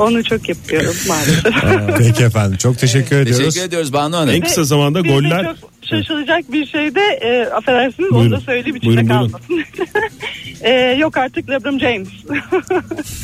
Speaker 5: Onu çok yapıyorum
Speaker 4: [laughs]
Speaker 5: maalesef.
Speaker 2: [laughs] Peki efendim çok teşekkür ediyoruz.
Speaker 3: Teşekkür ediyoruz Banu Hanım.
Speaker 4: En kısa zamanda
Speaker 5: Bir de
Speaker 4: goller
Speaker 5: çok şaşılacak bir şey de e, affedersiniz
Speaker 4: Buyurun.
Speaker 5: onu da söyleyeyim içinde
Speaker 4: Buyurun, buyurun.
Speaker 5: kalmasın. [laughs] E, yok artık LeBron James.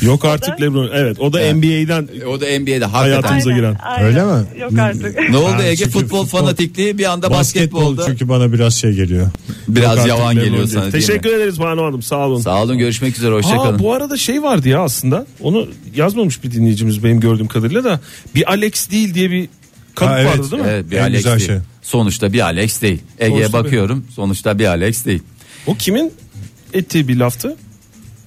Speaker 4: yok artık LeBron. Evet o da NBA'den
Speaker 3: E, O da NBA'de hakikaten.
Speaker 4: hayatımıza giren.
Speaker 2: Öyle mi?
Speaker 5: Yok artık.
Speaker 3: Ne oldu
Speaker 2: Ha,
Speaker 3: Ege
Speaker 2: çünkü
Speaker 3: futbol,
Speaker 2: futbol-
Speaker 3: fanatikliği bir anda basketbolda.
Speaker 2: çünkü bana biraz şey geliyor.
Speaker 3: Biraz
Speaker 4: Yok
Speaker 3: yavan
Speaker 4: artık LeBron
Speaker 3: geliyor
Speaker 4: James.
Speaker 3: sana değil mi?
Speaker 4: Teşekkür ederiz Banu Hanım sağ olun.
Speaker 3: Sağ olun görüşmek üzere hoşçakalın.
Speaker 4: Aa, bu arada şey vardı ya aslında onu yazmamış bir dinleyicimiz benim gördüğüm kadarıyla da bir Alex değil diye bir kalıp
Speaker 2: Ha, evet.
Speaker 4: vardı değil mi?
Speaker 3: Evet bir
Speaker 2: En
Speaker 3: Alex
Speaker 2: güzel
Speaker 3: değil.
Speaker 2: şey.
Speaker 3: Sonuçta bir Alex değil. Ege'ye
Speaker 4: Sonuçta bir-
Speaker 3: bakıyorum sonuçta bir Alex değil.
Speaker 4: O kimin ettiği bir laftı?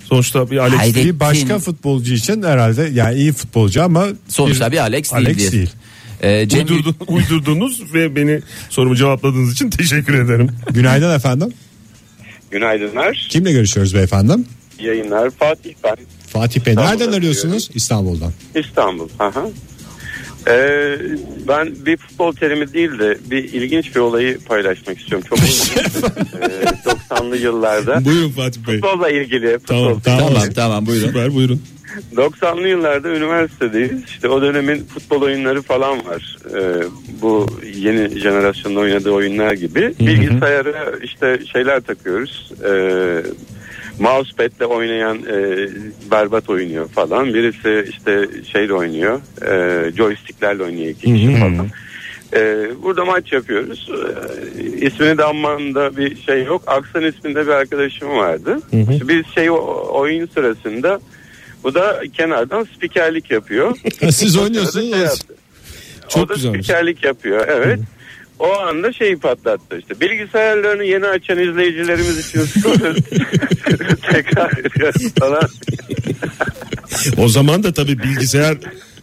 Speaker 4: Sonuçta bir Alex
Speaker 3: Hayır.
Speaker 4: değil.
Speaker 3: Ettin.
Speaker 2: Bir başka futbolcu için herhalde yani iyi futbolcu ama
Speaker 3: Sonuçta bir Alex,
Speaker 2: Alex
Speaker 3: değil. diye.
Speaker 2: değil.
Speaker 3: Ee, Cem,
Speaker 4: Uydurdu- uydurduğunuz ve beni sorumu cevapladığınız için teşekkür ederim.
Speaker 2: Günaydın efendim.
Speaker 8: Günaydınlar.
Speaker 2: Kimle görüşüyoruz beyefendim?
Speaker 8: Yayınlar Fatih ben
Speaker 2: Fatih Bey
Speaker 8: İstanbul'dan
Speaker 2: nereden arıyorsunuz? İstanbul'dan.
Speaker 8: İstanbul. Aha. Ee, ben bir futbol terimi değil de bir ilginç bir olayı paylaşmak istiyorum. Çok
Speaker 4: [laughs]
Speaker 8: ee, 90'lı yıllarda.
Speaker 4: [laughs] Buyurun Fatih Bey.
Speaker 8: Futbolla ilgili. Futbol.
Speaker 4: Tamam tamam.
Speaker 3: Tamam tamam buyurun.
Speaker 4: Süper buyurun.
Speaker 8: 90'lı yıllarda üniversitedeyiz. İşte o dönemin futbol oyunları falan var. Ee, bu yeni jenerasyonun oynadığı oyunlar gibi. Bilgisayara işte şeyler takıyoruz. Ee, mousepad'le oynayan e, berbat oynuyor falan. Birisi işte şeyle oynuyor. E, joysticklerle oynuyor iki kişi falan. Ee, burada maç yapıyoruz. Ee, ismini de anmamda bir şey yok. Aksan isminde bir arkadaşım vardı. İşte Biz şey o- oyun sırasında bu da kenardan spikerlik yapıyor.
Speaker 2: [laughs] Siz
Speaker 8: oynuyorsunuz, Şey yaptı.
Speaker 4: [laughs] Çok
Speaker 8: o da
Speaker 4: güzelmiş.
Speaker 8: spikerlik yapıyor evet. O anda şeyi patlattı işte. Bilgisayarlarını yeni açan izleyicilerimiz
Speaker 4: [laughs]
Speaker 8: için soruyoruz. [laughs] tekrar ediyoruz falan.
Speaker 4: O zaman da tabii bilgisayar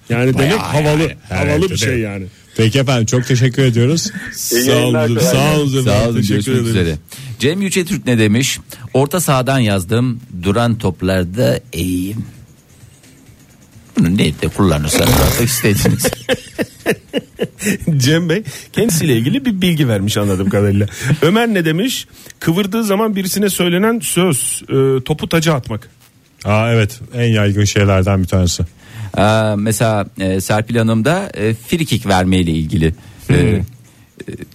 Speaker 4: yani demek havalı havalı bir
Speaker 2: evet.
Speaker 4: şey yani.
Speaker 2: Peki efendim çok teşekkür ediyoruz.
Speaker 8: İyi
Speaker 4: Sağ
Speaker 8: yayınlar,
Speaker 4: olun.
Speaker 8: kolay
Speaker 4: Sağ olun. efendim,
Speaker 3: Sağ olun
Speaker 4: Teşekkür
Speaker 3: görüşmek
Speaker 4: ederim.
Speaker 3: üzere. Cem Yücetürk ne demiş? Orta sahadan yazdım. Duran toplarda eğim. Bunu ne de kullanırsanız artık istediğiniz.
Speaker 4: Cem Bey kendisiyle ilgili bir bilgi vermiş anladığım kadarıyla. Ömer ne demiş? Kıvırdığı zaman birisine söylenen söz e, topu taca atmak.
Speaker 2: Aa evet en yaygın şeylerden bir tanesi.
Speaker 3: Aa, mesela e, Serpil Hanım da e, frikik vermeyle ilgili.
Speaker 2: Hmm.
Speaker 3: E, e,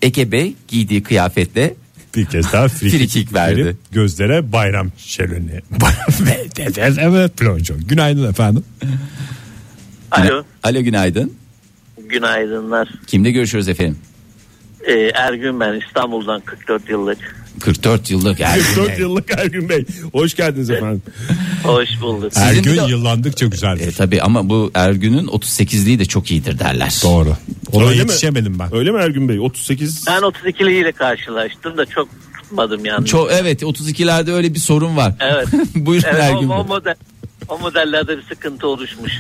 Speaker 3: Ege Bey giydiği kıyafetle
Speaker 2: Bir kez daha free
Speaker 3: Free
Speaker 2: kick
Speaker 3: kick verdi.
Speaker 2: verip Gözlere bayram şeleni. [laughs] evet plonco. Günaydın efendim.
Speaker 9: Alo.
Speaker 3: Alo günaydın.
Speaker 9: Günaydınlar.
Speaker 3: Kimle görüşüyoruz efendim?
Speaker 9: Ee, Ergün ben İstanbul'dan 44 yıllık.
Speaker 3: 44 yıllık Ergün
Speaker 4: 44
Speaker 3: Bey.
Speaker 4: yıllık Ergün Bey. Hoş geldiniz efendim.
Speaker 9: Hoş bulduk.
Speaker 3: Sizin bir
Speaker 2: Ergün
Speaker 3: de-
Speaker 2: yıllandıkça güzeldir.
Speaker 3: E, tabii ama bu Ergün'ün 38'liği de çok iyidir derler.
Speaker 2: Doğru. Ona
Speaker 4: Öyle mi?
Speaker 2: yetişemedim ben.
Speaker 4: Öyle mi Ergün Bey? 38
Speaker 9: Ben 32'liyle karşılaştım da çok tutmadım yani.
Speaker 3: Çok evet 32'lerde öyle bir sorun var.
Speaker 9: Evet.
Speaker 3: [laughs] Buyurun
Speaker 9: Evet,
Speaker 3: Ergün
Speaker 9: o,
Speaker 3: Bey.
Speaker 9: o, model, o modellerde bir sıkıntı oluşmuş.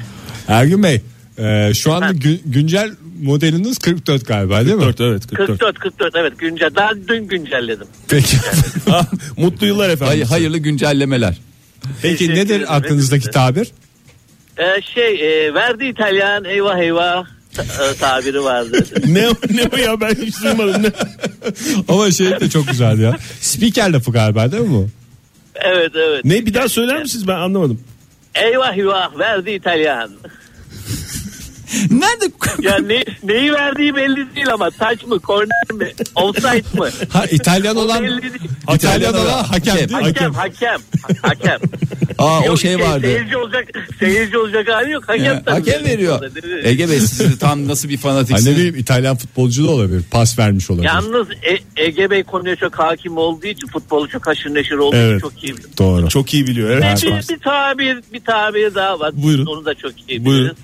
Speaker 2: Ergün Bey e, şu anda gü- güncel modeliniz 44 galiba değil mi?
Speaker 4: 44 evet 44.
Speaker 9: 44 44 evet güncel. Daha dün güncelledim.
Speaker 2: Peki.
Speaker 4: [laughs] Ah, Mutlu yıllar efendim.
Speaker 3: Hayır, hayırlı güncellemeler.
Speaker 2: Peki
Speaker 9: Teşekkür
Speaker 2: nedir
Speaker 9: ederim.
Speaker 2: aklınızdaki tabir?
Speaker 9: Ee, şey e, verdi İtalyan eyvah eyvah ta- e, tabiri vardı.
Speaker 4: Ne, o- ne o ya ben hiç duymadım. Ne?
Speaker 2: Ama şey de çok güzeldi ya. Spiker lafı galiba değil mi bu?
Speaker 9: evet evet.
Speaker 4: ne bir daha söyler misiniz ben anlamadım.
Speaker 9: Eyvah eyvah verdi İtalyan.
Speaker 3: Nerede?
Speaker 9: Ya ne, neyi verdiği belli değil ama taç mı korner mi offside mı?
Speaker 2: Ha İtalyan olan
Speaker 9: belli değil.
Speaker 2: İtalyan olan hakem değil mi?
Speaker 9: Hakem hakem hakem.
Speaker 3: şey, Aa o
Speaker 9: Yok,
Speaker 3: şey vardı.
Speaker 9: Seyirci olacak seyirci olacak hali yok. Hakem,
Speaker 3: Ya,
Speaker 9: tabii.
Speaker 3: Hakem veriyor. E-
Speaker 9: Değil mi?
Speaker 3: Ege Bey siz de tam nasıl bir
Speaker 2: Ha, ne
Speaker 3: fanatiksiniz?
Speaker 2: bileyim İtalyan futbolcu da olabilir. Pas vermiş olabilir.
Speaker 9: Yalnız E- Ege Bey konuya çok hakim olduğu için futbolu çok haşır neşir olduğu
Speaker 2: Evet.
Speaker 9: için çok iyi biliyor.
Speaker 2: Doğru.
Speaker 4: Çok iyi biliyor
Speaker 9: Ve
Speaker 2: [laughs]
Speaker 4: evet.
Speaker 9: bir, bir tabir bir tabir daha var.
Speaker 4: Buyurun.
Speaker 9: Onu da çok iyi
Speaker 4: Buyurun.
Speaker 9: biliriz.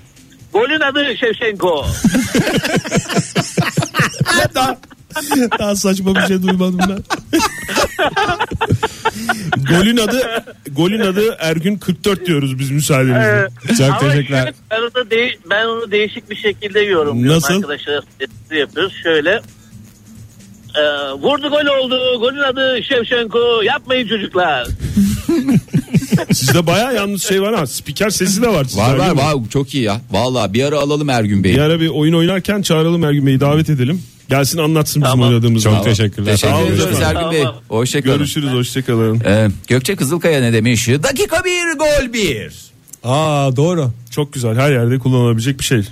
Speaker 9: Golün adı Şevşenko.
Speaker 4: daha, daha saçma bir şey duymadım
Speaker 2: [laughs]
Speaker 4: ben. golün adı golün adı Ergün 44 diyoruz biz müsaadenizle.
Speaker 2: Çok
Speaker 9: Ama
Speaker 2: teşekkürler.
Speaker 9: [laughs] şöyle, ben, onu deği- ben onu değişik bir şekilde yorumluyorum.
Speaker 4: Nasıl?
Speaker 9: Arkadaşlar testi yapıyoruz. Şöyle e, vurdu gol oldu. Golün adı Şevşenko. Yapmayın çocuklar.
Speaker 4: Sizde bayağı yalnız şey var ha. Spiker sesi de var. sizde,
Speaker 3: Var
Speaker 4: Ergün
Speaker 3: var
Speaker 4: Bey.
Speaker 3: var çok iyi ya. Vallahi bir ara alalım Ergün
Speaker 4: Bir
Speaker 3: Bey'i.
Speaker 4: ara bir oyun oynarken çağıralım Ergün Bey'i davet edelim. Gelsin anlatsın bizim
Speaker 9: Tamam.
Speaker 4: oynadığımız.
Speaker 2: Çok
Speaker 4: zaman.
Speaker 2: teşekkürler.
Speaker 4: Sağ
Speaker 3: Teşekkür
Speaker 4: olun.
Speaker 3: ederiz Ergün Bey.
Speaker 9: Tamam.
Speaker 3: Hoşçakalın.
Speaker 4: Görüşürüz hoşçakalın.
Speaker 3: Ee, Gökçe Kızılkaya ne demiş? Dakika bir gol bir.
Speaker 2: Aa doğru.
Speaker 4: Çok güzel her yerde kullanılabilecek bir şey.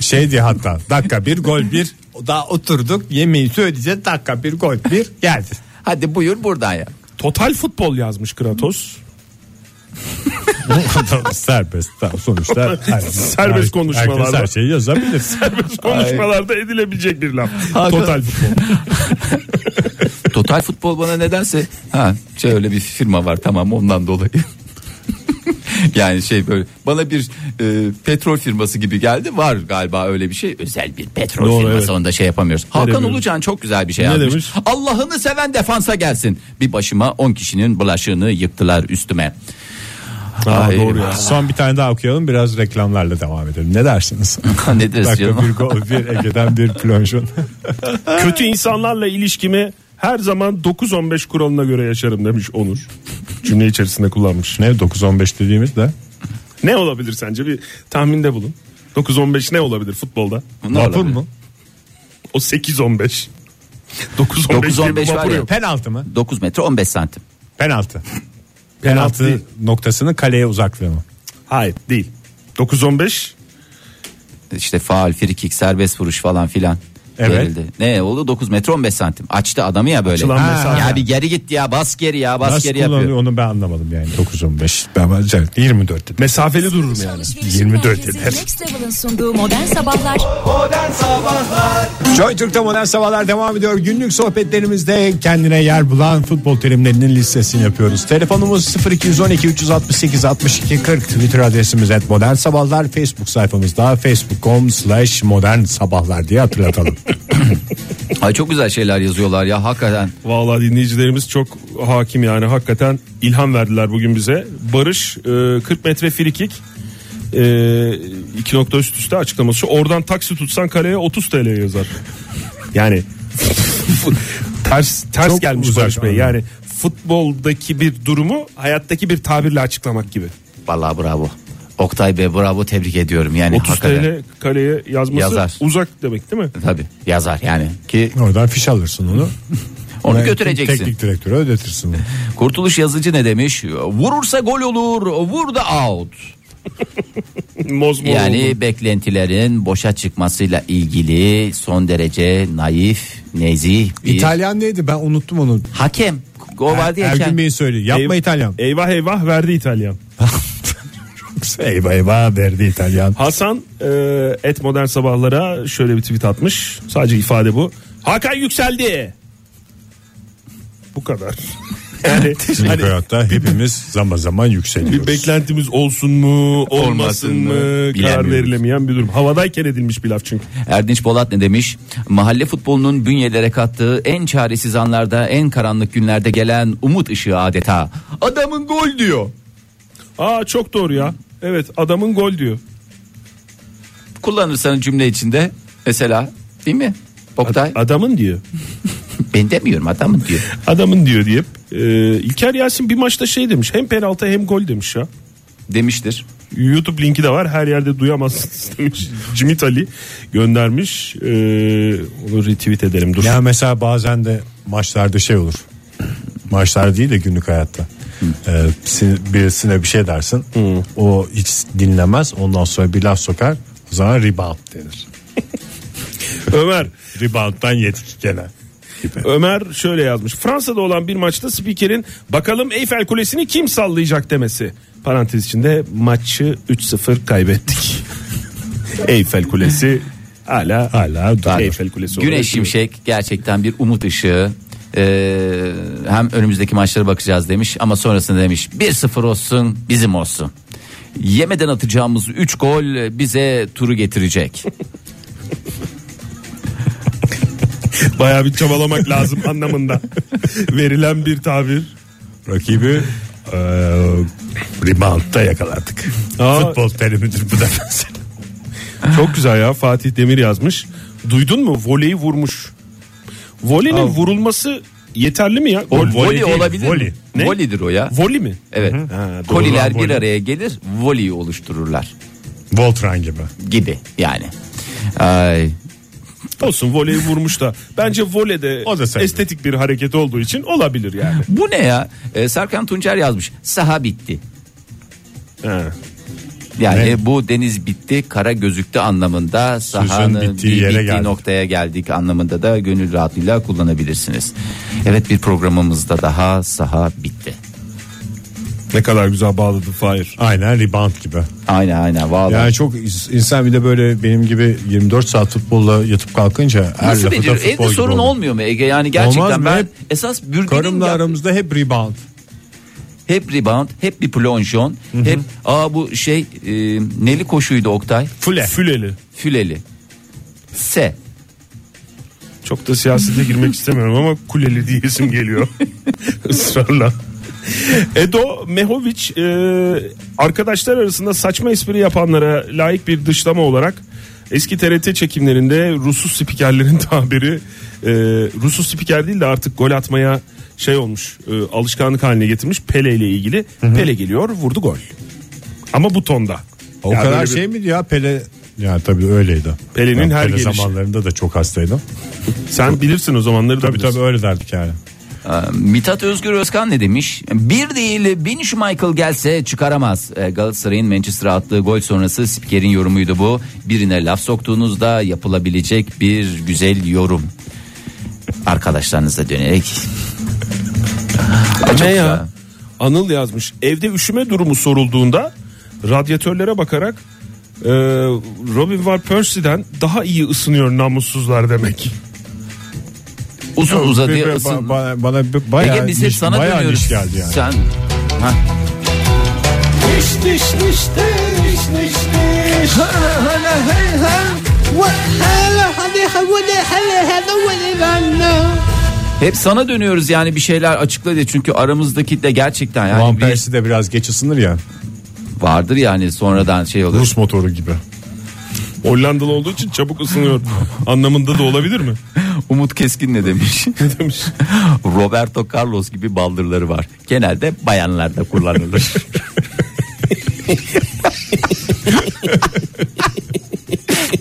Speaker 2: Şey diye hatta dakika bir gol bir daha oturduk yemeği söyleyeceğiz dakika bir gol bir geldi.
Speaker 3: Hadi buyur buradan ya.
Speaker 4: Total futbol yazmış
Speaker 2: [laughs]
Speaker 4: Kratos.
Speaker 2: serbest tamam, sonuçta her-
Speaker 4: Serbest konuşmalarda.
Speaker 2: herkes her şeyi yazabilir.
Speaker 4: Konuşmalarda edilebilecek bir laf.
Speaker 3: Hakan-
Speaker 2: [laughs]
Speaker 4: Total futbol.
Speaker 3: Total futbol bana nedense ha şey öyle bir firma var tamam ondan dolayı. [laughs] yani şey böyle bana bir e, petrol firması gibi geldi var galiba öyle bir şey özel bir petrol
Speaker 4: Doğru,
Speaker 3: firması
Speaker 4: evet.
Speaker 3: onu da şey yapamıyoruz. Hakan
Speaker 4: demiş?
Speaker 3: Ulucan çok güzel bir şey
Speaker 4: Ne
Speaker 3: yapmış.
Speaker 4: demiş?
Speaker 3: Allah'ını seven defansa gelsin. Bir başıma 10 kişinin bulaşığını yıktılar üstüme. Ay,
Speaker 2: doğru ya. Son bir tane daha okuyalım biraz reklamlarla devam edelim. Ne dersiniz?
Speaker 3: [laughs] Ne deriz
Speaker 2: dakika
Speaker 3: canım?
Speaker 2: bir gol bir Ege'den bir plonjon.
Speaker 4: Kötü insanlarla ilişkimi her zaman 9-15 kuralına göre yaşarım demiş Onur. Cümle içerisinde kullanmış.
Speaker 2: ne 9-15 dediğimiz de
Speaker 4: Ne olabilir sence bir tahminde bulun. 9-15 ne olabilir futbolda?
Speaker 3: Bunlar
Speaker 2: vapur
Speaker 3: olabilir.
Speaker 2: mu?
Speaker 4: O 8-15. 9-15 diye bir
Speaker 3: 9-15 var
Speaker 4: vapur
Speaker 3: ya.
Speaker 4: yok.
Speaker 2: Penaltı mı?
Speaker 3: 9 metre 15 santim.
Speaker 2: Penaltı. Penaltı,
Speaker 4: değil.
Speaker 2: noktasının kaleye uzaklığı mı?
Speaker 4: Hayır değil. 9-15
Speaker 3: İşte faal, frikik, serbest vuruş falan filan.
Speaker 2: Evet.
Speaker 3: verildi. Ne oldu? 9 metre 15 santim. Açtı adamı ya böyle.
Speaker 4: Açılan
Speaker 3: Ha.
Speaker 4: mesafe.
Speaker 3: Ya bir geri git ya bas geri ya bas
Speaker 2: Nasıl
Speaker 3: geri yapıyor.
Speaker 2: kullanılıyor onu ben anlamadım yani 9-15. Ben bence 24 dedim.
Speaker 4: mesafeli dururum yani.
Speaker 2: 24
Speaker 10: Merkezi
Speaker 2: eder.
Speaker 10: Next Level'ın sunduğu modern sabahlar
Speaker 2: Joy Türk'te modern sabahlar devam ediyor. Günlük sohbetlerimizde kendine yer bulan futbol terimlerinin listesini yapıyoruz. Telefonumuz 0212 368 62 40. Twitter adresimiz et modern sabahlar. Facebook sayfamızda facebook.com slash modern sabahlar
Speaker 3: [laughs]
Speaker 2: diye hatırlatalım.
Speaker 3: Ay çok güzel şeyler yazıyorlar ya hakikaten.
Speaker 4: Vallahi dinleyicilerimiz çok hakim yani hakikaten ilham verdiler bugün bize. Barış e, 40 metre frikik e, iki nokta üst üste açıklaması. Oradan taksi tutsan kaleye 30 TL yazar. Yani [laughs] ters ters
Speaker 2: Çok
Speaker 4: gelmiş
Speaker 2: uzak,
Speaker 4: Barış Bey.
Speaker 2: aynen.
Speaker 4: Yani futboldaki bir durumu hayattaki bir tabirle açıklamak gibi.
Speaker 3: Vallahi bravo. Oktay Bey bravo tebrik ediyorum yani
Speaker 4: 30
Speaker 3: E, hakikaten.
Speaker 4: TL kaleye yazması
Speaker 3: Yazar.
Speaker 4: uzak demek değil mi? [laughs]
Speaker 3: Tabii yazar yani ki
Speaker 2: Oradan fiş alırsın onu.
Speaker 3: onu
Speaker 2: Belki
Speaker 3: götüreceksin.
Speaker 2: Teknik direktöre ödetirsin onu.
Speaker 3: Kurtuluş yazıcı ne demiş? Vurursa gol olur, vur da out.
Speaker 4: Mozmor
Speaker 3: Yani
Speaker 4: oldu.
Speaker 3: beklentilerin boşa çıkmasıyla ilgili son derece naif, nezih bir
Speaker 2: İtalyan neydi ben unuttum onu.
Speaker 3: hakem. O vardı ya
Speaker 2: Er- Ergün
Speaker 3: kend-
Speaker 2: Bey'in söyledi. Yapma
Speaker 4: Eyv-
Speaker 2: İtalyan. [laughs]
Speaker 4: Eyvah eyvah verdi İtalyan.
Speaker 2: Eyvah eyvah verdi İtalyan.
Speaker 4: Hasan e, et modern sabahlara şöyle bir tweet atmış. Sadece ifade bu. Hakan yükseldi.
Speaker 3: [laughs]
Speaker 4: Bu kadar. Yani
Speaker 2: Şimdi
Speaker 4: hani
Speaker 2: hayatta hepimiz zaman zaman
Speaker 4: bir
Speaker 2: yükseliyoruz.
Speaker 4: beklentimiz olsun mu olmasın
Speaker 3: Olmasın
Speaker 4: mı
Speaker 3: mı?
Speaker 4: karar
Speaker 3: Bilemiyoruz.
Speaker 4: verilemeyen bir durum. Havadayken edilmiş bir laf çünkü.
Speaker 3: Erdinç Polat ne demiş? Mahalle futbolunun bünyelere kattığı en çaresiz anlarda, en karanlık günlerde gelen umut ışığı adeta. Adamın gol diyor.
Speaker 4: Aa çok doğru ya. Evet adamın gol diyor.
Speaker 3: Kullanırsan cümle içinde mesela değil mi? Oktay [laughs]
Speaker 4: Adamın diyor.
Speaker 3: ben demiyorum adamın diyor.
Speaker 4: Adamın diyor deyip e, İlker Yasin bir maçta şey demiş. Hem penaltı hem gol demiş ya.
Speaker 3: Demiştir.
Speaker 4: YouTube linki de var. Her yerde duyamazsınız [laughs] demiş. Cimit Ali göndermiş. Ee, onu retweet edelim dur.
Speaker 2: Ya mesela bazen de maçlarda şey olur. Maçlar değil de günlük hayatta. Ee, sin- birisine bir şey dersin. O hiç dinlemez. Ondan sonra bir laf sokar. O zaman rebound denir.
Speaker 4: Ömer
Speaker 2: Rebound'dan yetki gene. Gibi.
Speaker 4: Ömer şöyle yazmış. Fransa'da olan bir maçta spikerin bakalım Eyfel Kulesi'ni kim sallayacak demesi. Parantez içinde maçı 3-0 kaybettik. [laughs] Eyfel Kulesi hala hala
Speaker 3: Var.
Speaker 4: Eyfel Kulesi. olarak
Speaker 3: Güneş Şimşek gerçekten bir umut ışığı. Ee, hem önümüzdeki maçlara bakacağız demiş ama sonrasında demiş 1-0 olsun bizim olsun. Yemeden atacağımız 3 gol bize turu getirecek.
Speaker 4: Bayağı bir çabalamak lazım anlamında. Verilen bir tabir.
Speaker 2: Rakibi e, rebound'da yakaladık.
Speaker 4: Aa.
Speaker 2: Futbol terimidir bu da mesela.
Speaker 4: Çok güzel ya Fatih Demir yazmış. Duydun mu voleyi vurmuş. Volenin vurulması yeterli mi ya?
Speaker 3: O
Speaker 4: Gol-
Speaker 3: voli
Speaker 4: değil,
Speaker 3: olabilir. mi?
Speaker 4: Voli. Ne?
Speaker 3: Volidir o ya.
Speaker 4: Voli mi?
Speaker 3: Evet.
Speaker 4: Ha, doğru
Speaker 3: Koliler
Speaker 4: lan,
Speaker 3: bir
Speaker 4: voli.
Speaker 3: araya gelir, voli oluştururlar
Speaker 2: Voltran gibi.
Speaker 3: gibi yani. Ay.
Speaker 4: Olsun voleyi vurmuş da. Bence voley de
Speaker 2: O da sayılır.
Speaker 4: estetik bir hareket olduğu için olabilir yani.
Speaker 3: Bu ne ya? Ee, Serkan Tuncer yazmış. Saha bitti.
Speaker 4: He.
Speaker 3: Yani
Speaker 2: Ne?
Speaker 3: bu deniz bitti, kara gözüktü anlamında sahanın
Speaker 2: bittiği
Speaker 3: bittiği,
Speaker 2: yere
Speaker 3: bittiği
Speaker 2: geldik.
Speaker 3: noktaya geldik anlamında da gönül rahatlığıyla kullanabilirsiniz. Evet bir programımızda daha saha bitti.
Speaker 4: Ne kadar güzel bağladı Fahir.
Speaker 2: Aynen rebound gibi.
Speaker 3: Aynen aynen vallahi.
Speaker 2: Yani çok is- insan bir de böyle benim gibi 24 saat futbolla yatıp kalkınca her
Speaker 3: Nasıl
Speaker 2: lafı da
Speaker 3: beceriyor?
Speaker 2: futbol
Speaker 3: Evde
Speaker 2: gibi
Speaker 3: sorun
Speaker 2: oldu.
Speaker 3: olmuyor mu Ege? Yani gerçekten
Speaker 2: Olmaz mı?
Speaker 3: ben
Speaker 2: Hep
Speaker 3: esas bürgünün
Speaker 2: Karımla
Speaker 3: yap-
Speaker 2: aramızda hep rebound.
Speaker 3: hep rebound, hep bir plonjon, hep aa bu şey e, neli koşuydu Oktay?
Speaker 4: Füle. Füleli.
Speaker 3: Füleli. S.
Speaker 4: Çok da siyasete girmek istemiyorum ama kuleli diyesim geliyor.
Speaker 2: [laughs]
Speaker 4: Israrla. Edo Mehoviç e, arkadaşlar arasında saçma espri yapanlara layık bir dışlama olarak eski TRT çekimlerinde Rusuz spikerlerin [laughs] tabiri e, Rusuz spiker değil de artık gol atmaya şey olmuş e, alışkanlık haline getirmiş Pele ile ilgili Pele geliyor vurdu gol ama bu tonda
Speaker 2: O
Speaker 4: Ya
Speaker 2: kadar
Speaker 4: böyle bir-
Speaker 2: şey miydi ya Pele? Ya tabii öyleydi.
Speaker 4: Pele'nin
Speaker 2: Ben
Speaker 4: her
Speaker 2: Pele
Speaker 4: gelişi.
Speaker 2: zamanlarında da çok hastaydım.
Speaker 4: sen bilirsin o zamanları da
Speaker 2: Tabii
Speaker 4: bilirsin.
Speaker 2: tabii öyle derdik yani.
Speaker 3: Mithat Özgür Özkan ne demiş? Bir değil bin Michael gelse çıkaramaz. E, Galatasaray'ın Manchester'a attığı gol sonrası spikerin yorumuydu bu. Birine laf soktuğunuzda yapılabilecek bir güzel yorum. Arkadaşlarınıza dönerek. Aa, çok
Speaker 4: Ne
Speaker 3: güzel.
Speaker 4: ya? Anıl yazmış. Evde üşüme durumu sorulduğunda radyatörlere bakarak e, Robin Van Persie'den daha iyi ısınıyor namussuzlar demek.
Speaker 3: Uzun uzadıya
Speaker 2: Ba-
Speaker 3: ısın.
Speaker 2: ba- bana bir-
Speaker 3: Ege
Speaker 2: bayağı
Speaker 3: biz hep
Speaker 2: niş,
Speaker 3: sana
Speaker 2: bayağı
Speaker 3: dönüyoruz.
Speaker 2: niş geldi yani.
Speaker 3: Sen Hah.
Speaker 1: Diş diş diş de, diş diş diş.
Speaker 3: hep sana dönüyoruz yani bir şeyler açıkla diye çünkü aramızdaki de gerçekten yani
Speaker 2: Van
Speaker 3: bir-
Speaker 2: Persie de biraz geç ısınır ya.
Speaker 3: vardır yani sonradan şey olur.
Speaker 2: Rus motoru gibi.
Speaker 4: Hollandalı olduğu için çabuk
Speaker 2: [laughs]
Speaker 4: ısınıyor anlamında da olabilir mi? [laughs]
Speaker 3: Umut Keskin ne demiş? ne demiş? [laughs] Roberto Carlos gibi baldırları var. Genelde bayanlarda kullanılır. [laughs]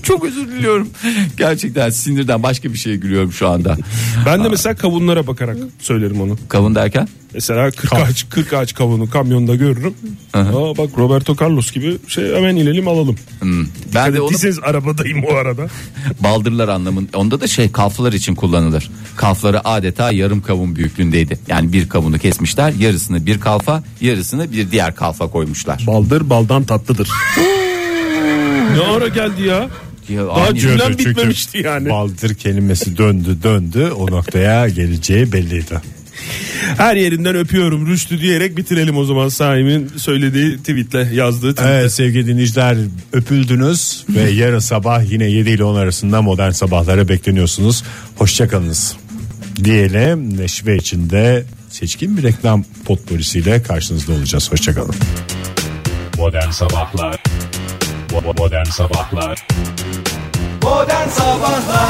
Speaker 3: Çok özür diliyorum. Gerçekten sinirden başka bir şeye gülüyorum şu anda.
Speaker 4: Ben de mesela kavunlara bakarak söylerim onu.
Speaker 3: Kavun derken?
Speaker 4: Mesela 40 ağaç, 40 ağaç kavunu kamyonda görürüm. Aa bak Roberto Carlos gibi şey hemen inelim alalım.
Speaker 3: Ben de
Speaker 4: Hadi
Speaker 3: onu
Speaker 4: diziniz arabadayım o arada.
Speaker 3: baldırlar anlamın. Onda da şey kalflar için kullanılır. Kalfları adeta yarım kavun büyüklüğündeydi. Yani bir kavunu kesmişler, yarısını bir kalfa, yarısını bir diğer kalfa koymuşlar.
Speaker 4: Baldır baldan tatlıdır. ne ara geldi ya?
Speaker 3: Ya
Speaker 4: Daha
Speaker 3: aynı-
Speaker 4: cümlem
Speaker 2: Çünkü
Speaker 4: bitmemişti yani.
Speaker 2: Baldır kelimesi döndü döndü o noktaya geleceği belliydi.
Speaker 4: Her yerinden öpüyorum Rüştü diyerek bitirelim o zaman Saim'in söylediği tweetle yazdığı tweet.
Speaker 2: Evet sevgili dinleyiciler öpüldünüz ve yarın sabah yine 7 ile 10 arasında modern sabahlara bekleniyorsunuz. Hoşçakalınız diyelim neşve içinde seçkin bir reklam potporisiyle karşınızda olacağız. Hoşçakalın.
Speaker 11: Modern Sabahlar Bo- bo- Modern Sabahlar
Speaker 1: Modern Sabahlar